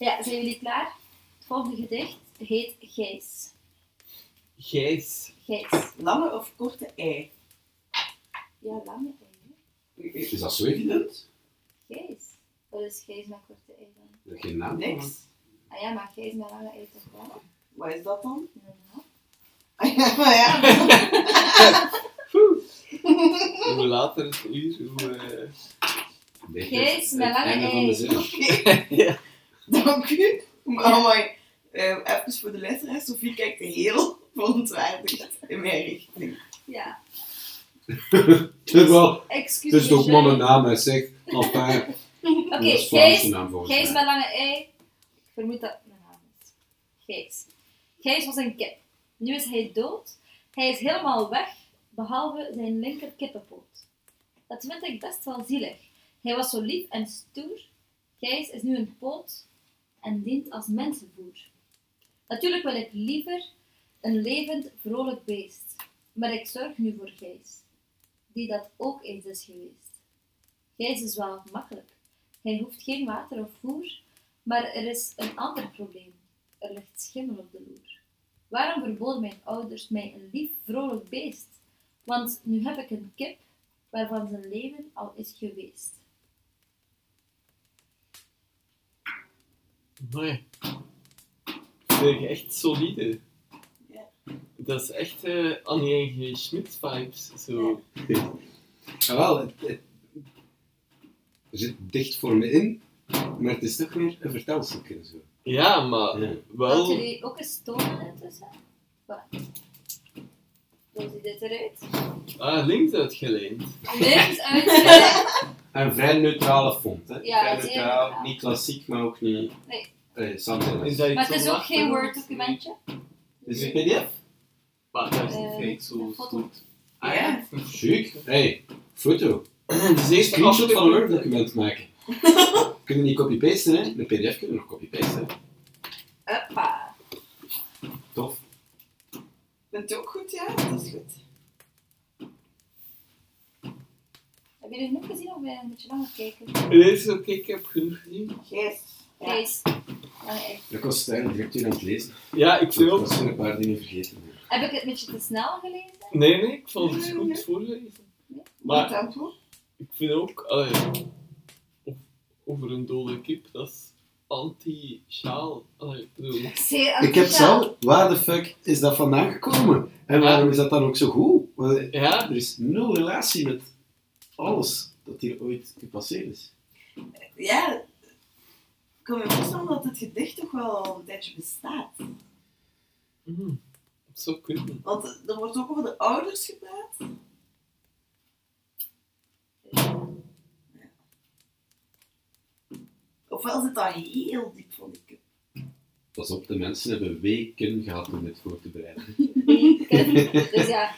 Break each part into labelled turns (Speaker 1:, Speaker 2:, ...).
Speaker 1: Ja, zijn jullie klaar? Het volgende gedicht heet Gijs.
Speaker 2: Gijs.
Speaker 1: Gijs.
Speaker 3: Lange of korte ei?
Speaker 1: Ja, lange ei.
Speaker 2: Is dat zo evident?
Speaker 1: hè? Gijs. Wat is Gijs met korte ei dan?
Speaker 2: Dat is Geen naam.
Speaker 3: Niks.
Speaker 1: Ah ja, maar Gijs met lange ei toch wel?
Speaker 3: Wat is dat dan?
Speaker 1: Ja, ja.
Speaker 3: Ah, ja, maar ja.
Speaker 2: Hoe later het uur, hoe... eh, dit is
Speaker 1: Gijs met
Speaker 2: het
Speaker 1: lange
Speaker 2: einde
Speaker 1: ei.
Speaker 2: van de zin.
Speaker 3: Dank u. Maar maar, eh, even voor de luisteraar. Sophie kijkt heel verontwaardigd in mijn richting.
Speaker 1: ja.
Speaker 2: Terwijl,
Speaker 1: Excuus
Speaker 2: het is toch
Speaker 1: me,
Speaker 2: maar
Speaker 1: Jean.
Speaker 2: een naam, hè, zeg. Enfin,
Speaker 1: Oké,
Speaker 2: dat is
Speaker 1: Gijs.
Speaker 2: Vlaamse naam volgens
Speaker 1: Gijs
Speaker 2: mij.
Speaker 1: met lange ei. Ik vermoed dat het mijn naam is. Gijs. Gijs was een kip. Nu is hij dood. Hij is helemaal weg, behalve zijn linker kippenpoot. Dat vind ik best wel zielig. Hij was zo lief en stoer. Gijs is nu een poot en dient als mensenvoer. Natuurlijk wil ik liever een levend, vrolijk beest. Maar ik zorg nu voor Gijs, die dat ook eens is geweest. Gijs is wel makkelijk. Hij hoeft geen water of voer, maar er is een ander probleem. Er ligt schimmel op de loer. Waarom verboden mijn ouders mij een lief, vrolijk beest? Want nu heb ik een kip waarvan zijn leven al is geweest.
Speaker 4: Mooi. Zeg, echt solide.
Speaker 3: Ja.
Speaker 4: Dat is echt eh Annie N. G. Schmidt vibes. Zo.
Speaker 2: Jawel, het, Ah, het zit dicht voor me in, maar het is toch meer een vertelstuk en zo.
Speaker 4: Ja, maar
Speaker 2: Ja.
Speaker 1: Wilt
Speaker 4: wel.
Speaker 1: jullie ook eens tonen intussen? Wat? Hoe ziet dit eruit?
Speaker 4: Ah, links uitgeleend.
Speaker 1: Links uit.
Speaker 2: Een vrij neutrale font, hè?
Speaker 1: Ja,
Speaker 2: vrij
Speaker 1: zeer
Speaker 2: neutraal,
Speaker 1: neutraal.
Speaker 2: niet klassiek, maar ook niet...
Speaker 1: Nee.
Speaker 2: Eh, Sanderless.
Speaker 4: Is dat iets
Speaker 1: Maar het is
Speaker 4: om
Speaker 1: ook geen
Speaker 4: achter-
Speaker 1: Word-documentje.
Speaker 2: Is het een pdf?
Speaker 4: Maar daar is
Speaker 1: Eh,
Speaker 4: niet fake zo
Speaker 1: een foto.
Speaker 4: goed.
Speaker 3: Ah, ja.
Speaker 2: Chic. Hey, foto.
Speaker 4: Dus eerst
Speaker 2: Screenshot van een Word-document maken. kunnen we niet copy-pasten, hè? Een pdf kunnen we nog copy-pasten.
Speaker 1: Hoppa.
Speaker 2: Tof.
Speaker 3: Vindt u ook goed, ja? Dat is goed.
Speaker 1: Hebben jullie nog gezien of wij een beetje langer kijken?
Speaker 4: Dit is oké, ik heb genoeg gezien.
Speaker 3: Gijs. Ja.
Speaker 1: Gijs. Lange ei.
Speaker 2: Dat kost eigenlijk direct weer aan het lezen.
Speaker 4: Ja, ik vind
Speaker 2: Dat
Speaker 4: ook.
Speaker 2: zijn een paar dingen vergeten.
Speaker 1: Heb ik het een beetje te snel gelezen?
Speaker 4: Nee, nee, ik vond het
Speaker 3: Nee,
Speaker 4: goed
Speaker 3: nee.
Speaker 4: voorlezen.
Speaker 3: Maar
Speaker 4: Maar-
Speaker 3: tempo.
Speaker 4: Ik vind ook. allee, of- over een dode kip, dat is anti-sjaal. Allee, ik bedoel.
Speaker 1: Zeer
Speaker 2: Ik heb
Speaker 1: enthousiast.
Speaker 2: zelf, waar de fuck is dat vandaan gekomen? En waarom is dat dan ook zo goed? Want eh,
Speaker 4: Ja,
Speaker 2: Er is nul relatie met alles dat hier ooit gepasseerd is.
Speaker 3: Ja, ik kan me voorstellen dat het gedicht toch wel al een tijdje bestaat.
Speaker 4: Hm, zo kunnen.
Speaker 3: Want er wordt ook over de ouders gepraat. Ja. Ofwel zit dat heel diep van die kip.
Speaker 2: Pas op, de mensen hebben weken gehad om dit voor te bereiden.
Speaker 1: Weken. Dus ja,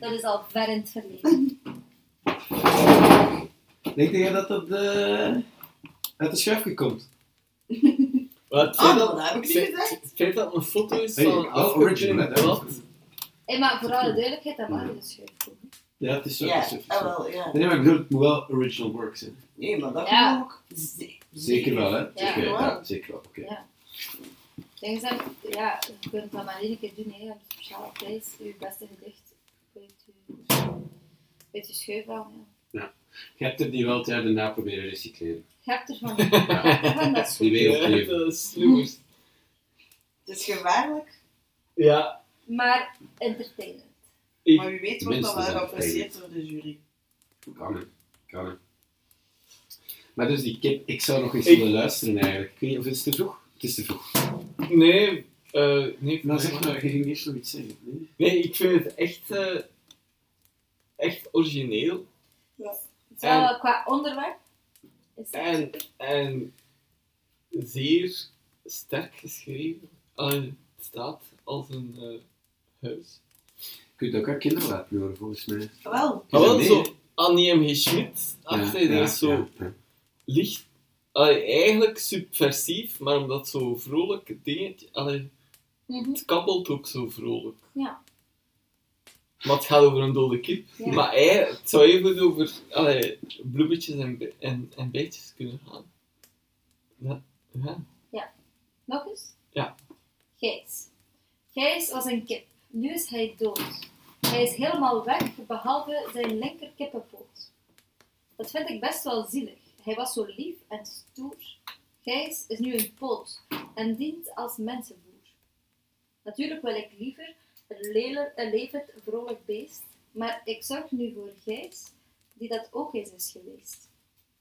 Speaker 1: dat is al ver in het verleden.
Speaker 2: Denk jij dat dat eh, uit de schuifje komt?
Speaker 4: Wat?
Speaker 3: Ah, dat heb ik niet
Speaker 4: Zeg-
Speaker 3: gezegd.
Speaker 4: Het feit dat het een foto is
Speaker 2: Hey,
Speaker 4: van
Speaker 2: wel
Speaker 4: een afgeprint
Speaker 2: original, hè?
Speaker 4: blad.
Speaker 1: Hey, maar voor alle duidelijkheid, dat waren dus schuifkoeken.
Speaker 2: Ja, het is zo.
Speaker 3: Ja,
Speaker 2: het is zo.
Speaker 3: ah, wel, ja.
Speaker 2: Nee, maar ik bedoel, het moet wel original work zijn.
Speaker 3: Nee, maar dat
Speaker 1: Ja.
Speaker 3: kan ook. Ze-
Speaker 2: Zeker wel, hè?
Speaker 1: Ja.
Speaker 2: Oké, ja, zeker wel. Oké.
Speaker 1: Ja. Denk eens aan- ja, je kunt dat maar iedere keer doen, hè. Je hebt een speciale prijs, je beste gedicht. Uit je, uit je schuif aan, ja.
Speaker 2: Je hebt er die wel het jaar daarna proberen recycleren.
Speaker 1: Je hebt ervan. Ik vind dat
Speaker 2: Die
Speaker 1: zo.
Speaker 2: weer
Speaker 4: Ja,
Speaker 2: opnieuw.
Speaker 4: dat is sluwers.
Speaker 3: Het is gevaarlijk,
Speaker 4: Ja,
Speaker 1: Maar entertainend.
Speaker 3: maar wie weet wordt dat wel
Speaker 2: Minstens
Speaker 3: geapprecieerd door de jury.
Speaker 2: Kan hè. Kan hè. Maar dus die kip, ik zou nog eens
Speaker 4: Ik-
Speaker 2: willen luisteren eigenlijk. Ik weet niet of het is te vroeg? Het is te vroeg.
Speaker 4: nee, eh, nee,
Speaker 2: Nou zeg maar, je ging eerst nog iets zeggen. Nee?
Speaker 4: nee, ik vind het echt, eh, echt origineel.
Speaker 1: Zowel qua onderwerp is het
Speaker 4: En, en zeer sterk geschreven. Alleen het staat als een eh, huis.
Speaker 2: Je kunt ook aan kinderen laten horen, volgens mij.
Speaker 3: Wel,
Speaker 4: Maar wel
Speaker 2: Nee.
Speaker 4: zo Annie M. G. Schmidt,
Speaker 2: Ah,
Speaker 4: achter, dat is zo
Speaker 2: ja.
Speaker 4: licht. Allee, eigenlijk subversief, maar omdat zo vrolijk dingetje. Allee,
Speaker 1: Mhm.
Speaker 4: Het kabbelt ook zo vrolijk.
Speaker 1: Ja.
Speaker 4: Maar het gaat over een dode kip.
Speaker 1: Ja.
Speaker 4: Maar hij, het zou even over allee, bloemetjes en, be- en, en bijtjes kunnen gaan. Ja, Ja.
Speaker 1: Nog eens?
Speaker 4: Ja.
Speaker 1: Gijs. Gijs was een kip. Nu is hij dood. Hij is helemaal weg, behalve zijn linker kippenpoot. Dat vind ik best wel zielig. Hij was zo lief en stoer. Gijs is nu een poot en dient als mensenboer. Natuurlijk wil ik liever een, lele, een levend, vrolijk beest, maar ik zorg nu voor Gijs, die dat ook eens is geweest.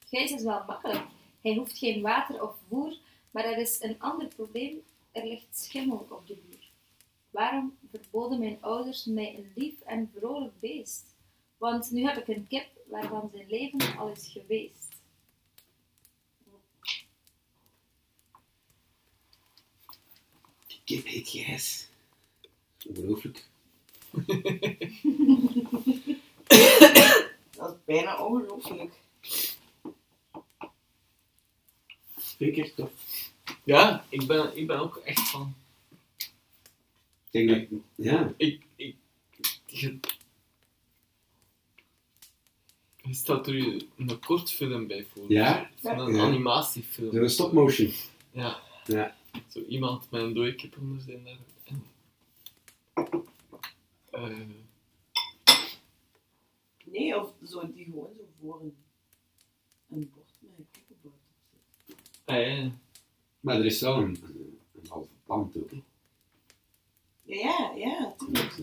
Speaker 1: Gijs is wel makkelijk. Hij hoeft geen water of voer, maar er is een ander probleem. Er ligt schimmel op de muur. Waarom verboden mijn ouders mij een lief en vrolijk beest? Want nu heb ik een kip waarvan zijn leven al is geweest.
Speaker 2: Die kip heet Gijs. Ongelooflijk.
Speaker 3: Dat is bijna ongelooflijk.
Speaker 2: Vind ik echt tof.
Speaker 4: Ja, ik ben, ik ben ook echt van.
Speaker 2: Ik denk dat ik- ja,
Speaker 4: Ik. ik je, er staat er hier een kort film bij voor.
Speaker 2: Ja?
Speaker 4: Van een
Speaker 2: Ja.
Speaker 4: animatiefilm.
Speaker 2: door een stopmotion.
Speaker 4: Ja.
Speaker 2: Ja.
Speaker 4: Zo iemand met een dode kip onder zijn daar. En, eh,
Speaker 3: Nee, of zo, die gewoon zo voor een, een bord met een kippenbord op zit.
Speaker 4: ah ja,
Speaker 2: Maar er is wel een, een, een halve plant ook. hè.
Speaker 3: Ja, ja, ja, tuurlijk.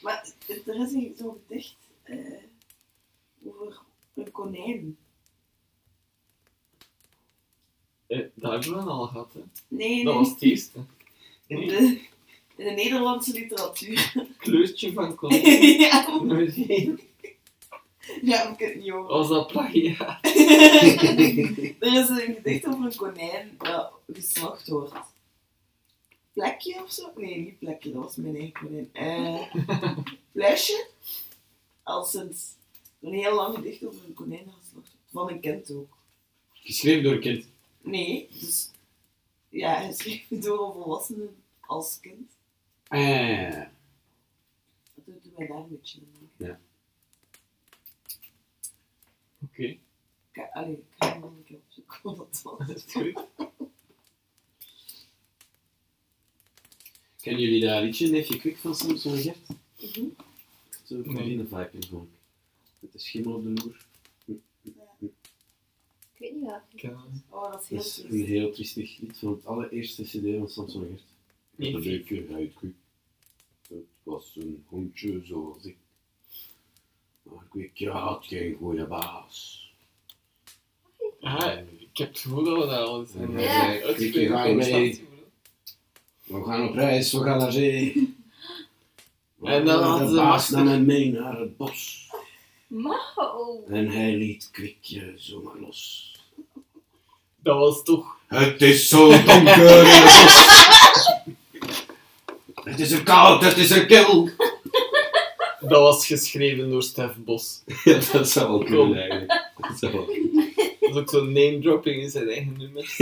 Speaker 3: Maar het- er is een- zo'n gedicht eh, over een konijn.
Speaker 4: eh, dat hebben we al gehad. Hè.
Speaker 3: Nee,
Speaker 4: Dat
Speaker 3: nee.
Speaker 4: was het eerste.
Speaker 3: In, de, in de Nederlandse literatuur.
Speaker 4: Kleurtje van Colin.
Speaker 3: ja,
Speaker 4: Nummer één.
Speaker 3: ja, ik het niet hoor.
Speaker 4: Was dat plagiaat?
Speaker 3: er is een gedicht over een konijn dat geslacht wordt. Plekje of zo? Nee, niet plekje, dat was mijn eigen konijn. Eh plesje? Al sinds een heel lang gedicht over een konijn dat geslacht wordt. Van een kind ook.
Speaker 2: Geschreven door een kind.
Speaker 3: Nee, dus ja, hij schreef het door een volwassene als kind.
Speaker 2: Ah, ja, ja, ja.
Speaker 3: Dat doet mij daar een beetje aan denken.
Speaker 4: Oké,
Speaker 3: Ik ga- Allee, ik ga hem nog een keer opzoeken wat dat was.
Speaker 4: dat is goed.
Speaker 2: Kennen jullie dat liedje Neefje Kwik van Samson en Gert?
Speaker 3: Mhm.
Speaker 2: Zo van
Speaker 4: Nee.
Speaker 2: die vibe in vond ik. Met de schimmel op de loer.
Speaker 1: Ik weet niet welke.
Speaker 4: Ik kan-
Speaker 3: Oh, dat is heel
Speaker 2: Dat is een
Speaker 3: triest.
Speaker 2: heel triestig lied van het allereerste cd van Samson en Gert.
Speaker 4: Nee,
Speaker 2: Een leuke huidkoek. Het was een hondje zoals ik. Maar Kwikje had geen goede baas.
Speaker 4: Ah, ik heb het gevoel dat we dat al eens hebben
Speaker 1: Ja.
Speaker 4: uitgesproken.
Speaker 2: ga je mee. We gaan op reis, we gaan naar zee.
Speaker 4: En dan hadden
Speaker 2: de
Speaker 4: ze
Speaker 2: baas
Speaker 4: masker.
Speaker 2: nam hem mee naar het bos.
Speaker 1: Mauw!
Speaker 2: En hij liet Kwikje zomaar los.
Speaker 4: Dat was toch...
Speaker 2: Het is zo donker in het bos. Het is er koud, het is er kil.
Speaker 4: Dat was geschreven door Stef Bos.
Speaker 2: Ja, dat zou wel
Speaker 4: kunnen
Speaker 2: eigenlijk. Dat zou wel
Speaker 4: Dat is ook zo'n name-dropping in zijn eigen nummer.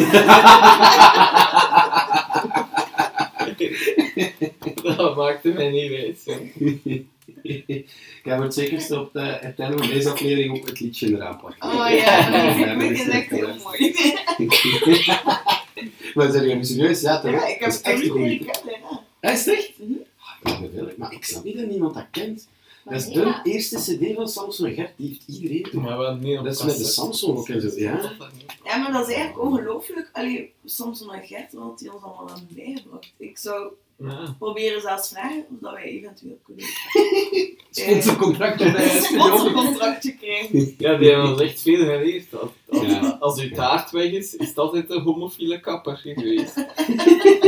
Speaker 4: dat maakte mij niet wijs. hè.
Speaker 2: Jij wordt zeker op de, het einde van deze aflevering ook het liedje eraan pakken.
Speaker 3: Oh ja,
Speaker 2: Ja,
Speaker 3: ik
Speaker 2: dat
Speaker 3: vind
Speaker 2: is
Speaker 3: het echt heel
Speaker 2: leuk.
Speaker 3: mooi.
Speaker 2: maar zijn jullie serieus? Ja, toch?
Speaker 3: Ja, ik heb
Speaker 2: Dat is
Speaker 3: het
Speaker 2: echt
Speaker 3: echt
Speaker 2: een goed
Speaker 3: leren
Speaker 2: lied.
Speaker 3: kennen. ja.
Speaker 2: Hij is het echt?
Speaker 3: Mhm.
Speaker 2: Ah, ik ben vervelend, maar ik snap niet dat niemand dat kent.
Speaker 1: Maar
Speaker 2: Dat is de
Speaker 1: ja,
Speaker 2: eerste cd van Samson en Gert, die heeft iedereen door.
Speaker 4: Maar we hadden niet op
Speaker 2: Dat is met de
Speaker 4: cassette.
Speaker 2: Samsung ook en zo, ja.
Speaker 3: Ja, maar dat is eigenlijk ongelooflijk. Allee, soms naar Gert, want die ons allemaal aan bijgebracht. Ik zou
Speaker 4: Ja.
Speaker 3: proberen zelfs vragen of dat wij eventueel kunnen
Speaker 2: Sponsorcontracten bij
Speaker 3: een
Speaker 2: SPO.
Speaker 3: sponsorcontractje krijgen.
Speaker 4: ja, die hebben ons echt veel geleerd. Als, als,
Speaker 2: Ja.
Speaker 4: als uw taart weg is, is dat altijd een homofiele kapper geweest.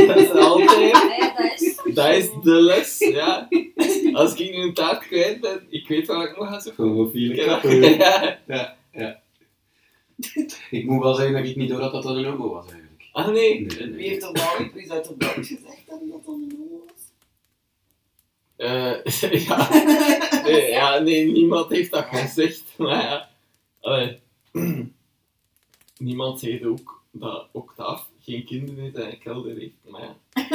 Speaker 4: dat is altijd...
Speaker 1: Ah, ja, dat is.
Speaker 4: Dat is de les, ja. Als ik nu een taart kwijt ben, ik weet waar ik moet gaan zoeken.
Speaker 2: Gewoon vier
Speaker 4: Ja,
Speaker 2: kappen.
Speaker 4: ja.
Speaker 2: Ik moet wel zeggen dat ik niet door had dat dat een homo was eigenlijk.
Speaker 4: Ah nee.
Speaker 2: Nee,
Speaker 3: Wie
Speaker 2: nee.
Speaker 3: heeft er wel wie zou er wel gezegd hebben dat dat een homo was?
Speaker 4: Eh, ja. Nee, ja, nee, niemand heeft dat gezegd. Maar ja. Allee. Niemand zei ook dat Octaaf geen kinderen in zijn kelder heeft. Maar ja.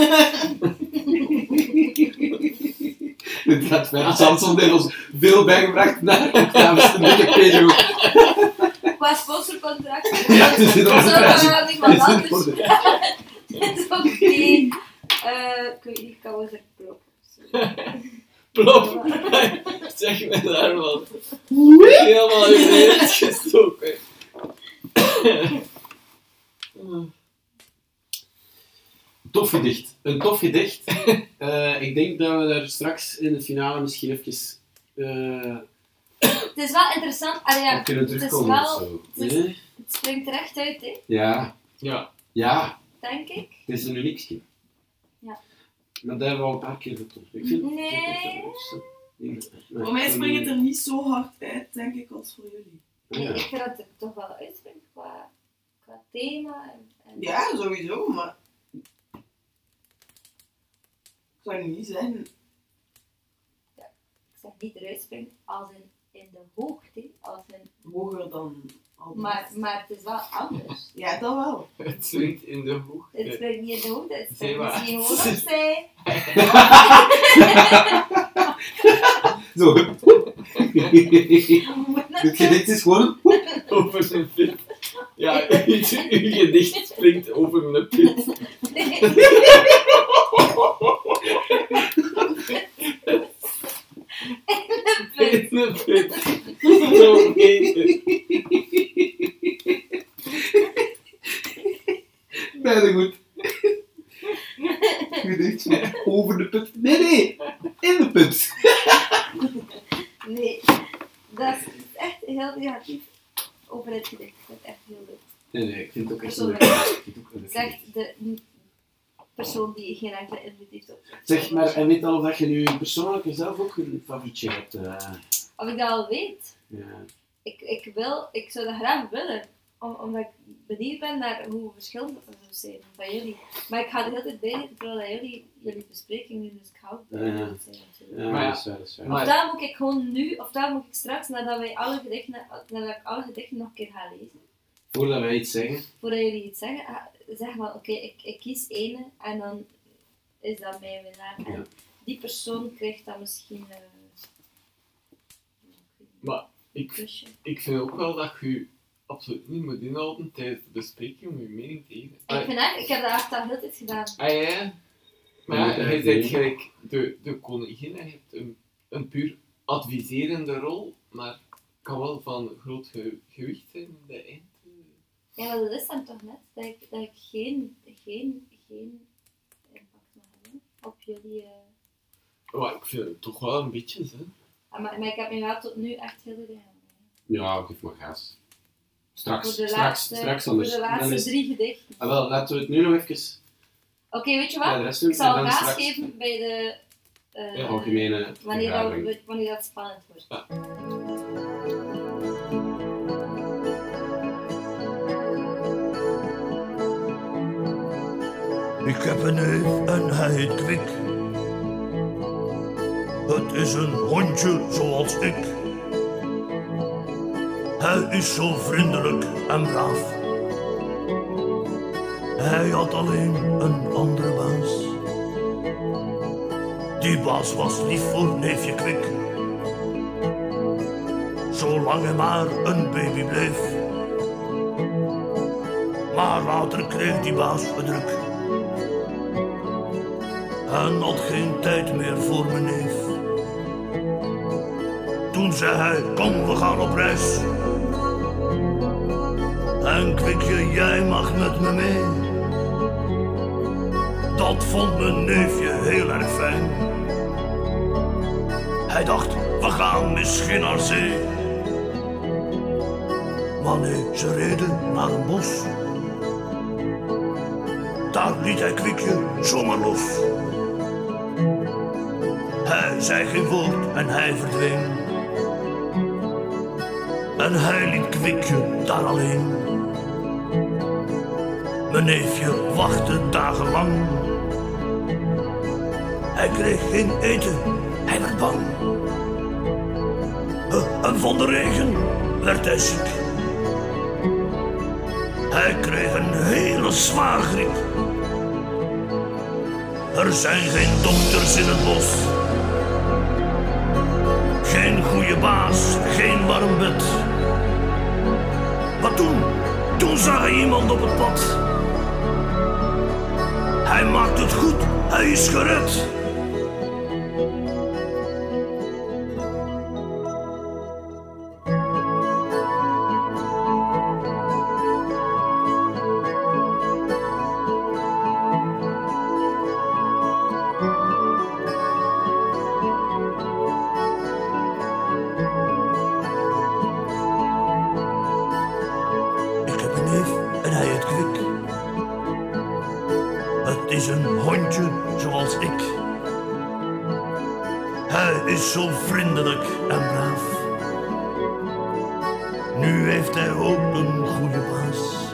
Speaker 2: Het had mij aan Samsung Deels veel bijgebracht naar de dames en heren Pedro.
Speaker 1: Maar qua sponsorcontract.
Speaker 2: Ja, het is in
Speaker 1: Zo
Speaker 2: orde.
Speaker 1: kan
Speaker 2: Het
Speaker 1: niemand
Speaker 2: is in
Speaker 1: anders.
Speaker 2: orde.
Speaker 1: Het is oké. Eh, Ik weet niet, ik kan wel zeggen pro.
Speaker 4: Plop. zeg me daar wat. Helemaal in de wereld gestoken.
Speaker 2: Tof gedicht. Een tof gedicht. Eh, ik denk dat we daar straks in de finale misschien even eh,
Speaker 1: Het is wel interessant. Ah ja,
Speaker 2: op kunnen
Speaker 1: het is
Speaker 2: terugkomen. of
Speaker 1: wel... het
Speaker 2: zo. Eh?
Speaker 1: Het springt er echt uit, hè,
Speaker 2: Ja,
Speaker 4: Ja,
Speaker 2: ja,
Speaker 1: denk ik.
Speaker 2: het is een uniekje.
Speaker 1: Ja.
Speaker 2: Maar daar hebben we al een paar keer getoond. Ik vind
Speaker 1: Nee.
Speaker 3: Voor mij springt het er niet zo hard uit, denk ik, als voor jullie.
Speaker 1: Nee, ik
Speaker 2: Ja.
Speaker 1: vind dat het toch wel uitspringt qua, qua thema. En, en-
Speaker 3: Ja, sowieso, maar... Ik zou het niet zeggen.
Speaker 1: Ik zeg niet eruit springt als in, in de hoogte, als in,
Speaker 3: Hoger dan... al de
Speaker 1: maar,
Speaker 3: rest.
Speaker 1: maar het is wel anders.
Speaker 3: Ja, dat wel.
Speaker 4: het swingt in de eh, hoek.
Speaker 1: Het springt niet in de hoogte, het
Speaker 4: Zeg
Speaker 1: springt
Speaker 4: maar.
Speaker 1: misschien gewoon opzij.
Speaker 2: Zo.
Speaker 1: Je moet
Speaker 2: Dit
Speaker 1: naar
Speaker 2: gedicht is gewoon...
Speaker 4: Over een put. Ja, uw uw gedicht springt over een put. In een put. Zo heet
Speaker 2: Bijna goed. Gedicht van over de put. Nee, nee. In de put.
Speaker 1: Nee, dat is echt heel negatief over het gedicht. Ik vind het echt heel leuk.
Speaker 2: Nee, nee, ik vind het ook echt een
Speaker 1: Sorry.
Speaker 2: leuk gedicht. Ik vind het ook een leuk gedicht.
Speaker 1: Zegt de n- persoon die geen enkele invloed heeft op.
Speaker 2: Zeg, maar en weet al dat je nu persoonlijk zelf ook een favorietje hebt. eh,
Speaker 1: Of ik dat al weet.
Speaker 2: ja.
Speaker 1: ik, ik, wil, ik zou dat graag willen. Om, omdat ik benieuwd ben naar hoe verschillend dat zou zijn van jullie. Maar ik ga er heel tijd bij zitten terwijl dat jullie jullie bespreking doen, dus ik hou het
Speaker 2: Ja, ja.
Speaker 1: zijn natuurlijk.
Speaker 2: Ja,
Speaker 4: Maar ja.
Speaker 2: dat is waar, dat is waar.
Speaker 4: Maar-
Speaker 1: Of daar moet ik gewoon nu, of daar moet ik straks, nadat, wij alle gedichten, nadat ik alle gedichten nog een keer ga lezen,
Speaker 2: Voordat wij iets zeggen.
Speaker 1: voordat jullie iets zeggen, ga- zeg maar, oké, ik, ik kies ene en dan is dat mijn winnaar.
Speaker 2: Ja.
Speaker 1: En die persoon krijgt dan misschien eh, een
Speaker 4: Ik,
Speaker 1: kusje.
Speaker 4: ik vind ook wel dat je je absoluut niet moet inhouden tijdens de bespreking om je mening te geven.
Speaker 1: Ik,
Speaker 4: Ah,
Speaker 1: vind echt, ik heb dat echt al heel tijd gedaan.
Speaker 4: ah, ja. Maar ja, je bent gelijk de, de koningin en je hebt een, een puur adviserende rol, maar kan wel van groot ge- gewicht zijn in de eind.
Speaker 1: Ja, maar dat is dan toch net, dat ik, dat ik geen, geen, geen impact mag hebben op jullie. eh.
Speaker 4: Maar Oh, ik vind het toch wel een beetje, hè.
Speaker 1: Ah, maar, maar ik heb me wel tot nu echt heel goed gehouden.
Speaker 2: Ja, geef maar gas. Straks,
Speaker 1: Voor de
Speaker 2: straks,
Speaker 1: laatste,
Speaker 2: straks
Speaker 1: voor
Speaker 2: anders.
Speaker 1: de
Speaker 2: Dan
Speaker 1: laatste
Speaker 2: is-
Speaker 1: drie gedichten.
Speaker 2: Ah, wel, laten we het nu nog even
Speaker 1: Oké, weet je wat?
Speaker 2: bij de rest doen.
Speaker 1: ik zal
Speaker 2: en dan
Speaker 1: gas
Speaker 2: straks
Speaker 1: geven bij de... eh,
Speaker 4: Ja,
Speaker 2: algemene
Speaker 1: wanneer,
Speaker 2: vergadering.
Speaker 1: dat, wanneer dat spannend wordt.
Speaker 5: Ik heb een neef en hij heet Kwik. Het is een hondje zoals ik. Hij is zo vriendelijk en braaf. Hij had alleen een andere baas. Die baas was lief voor neefje Kwik. Zolang hij maar een baby bleef. Maar later kreeg die baas verdruk en had geen tijd meer voor mijn neef. Toen zei hij, kom we gaan op reis. En kwikje, jij mag met me mee. Dat vond mijn neefje heel erg fijn. Hij dacht, we gaan misschien naar zee. Maar nee, ze reden naar een bos. Daar liet hij kwikje zomaar los. Hij zei geen woord en hij verdween. En hij liet Kwikje daar alleen. Mijn neefje wachtte dagenlang. Hij kreeg geen eten, hij werd bang. Eh, En van de regen werd hij ziek. Hij kreeg een hele zware griep. Er zijn geen dokters in het bos. Geen goede baas, geen warm bed. toen, toen zag hij iemand op het pad. Hij maakt het goed, hij is gered. Ik heb een neef en hij het kwik. Het is een hondje zoals ik. Hij is zo vriendelijk en braaf. Nu heeft hij ook een goede baas.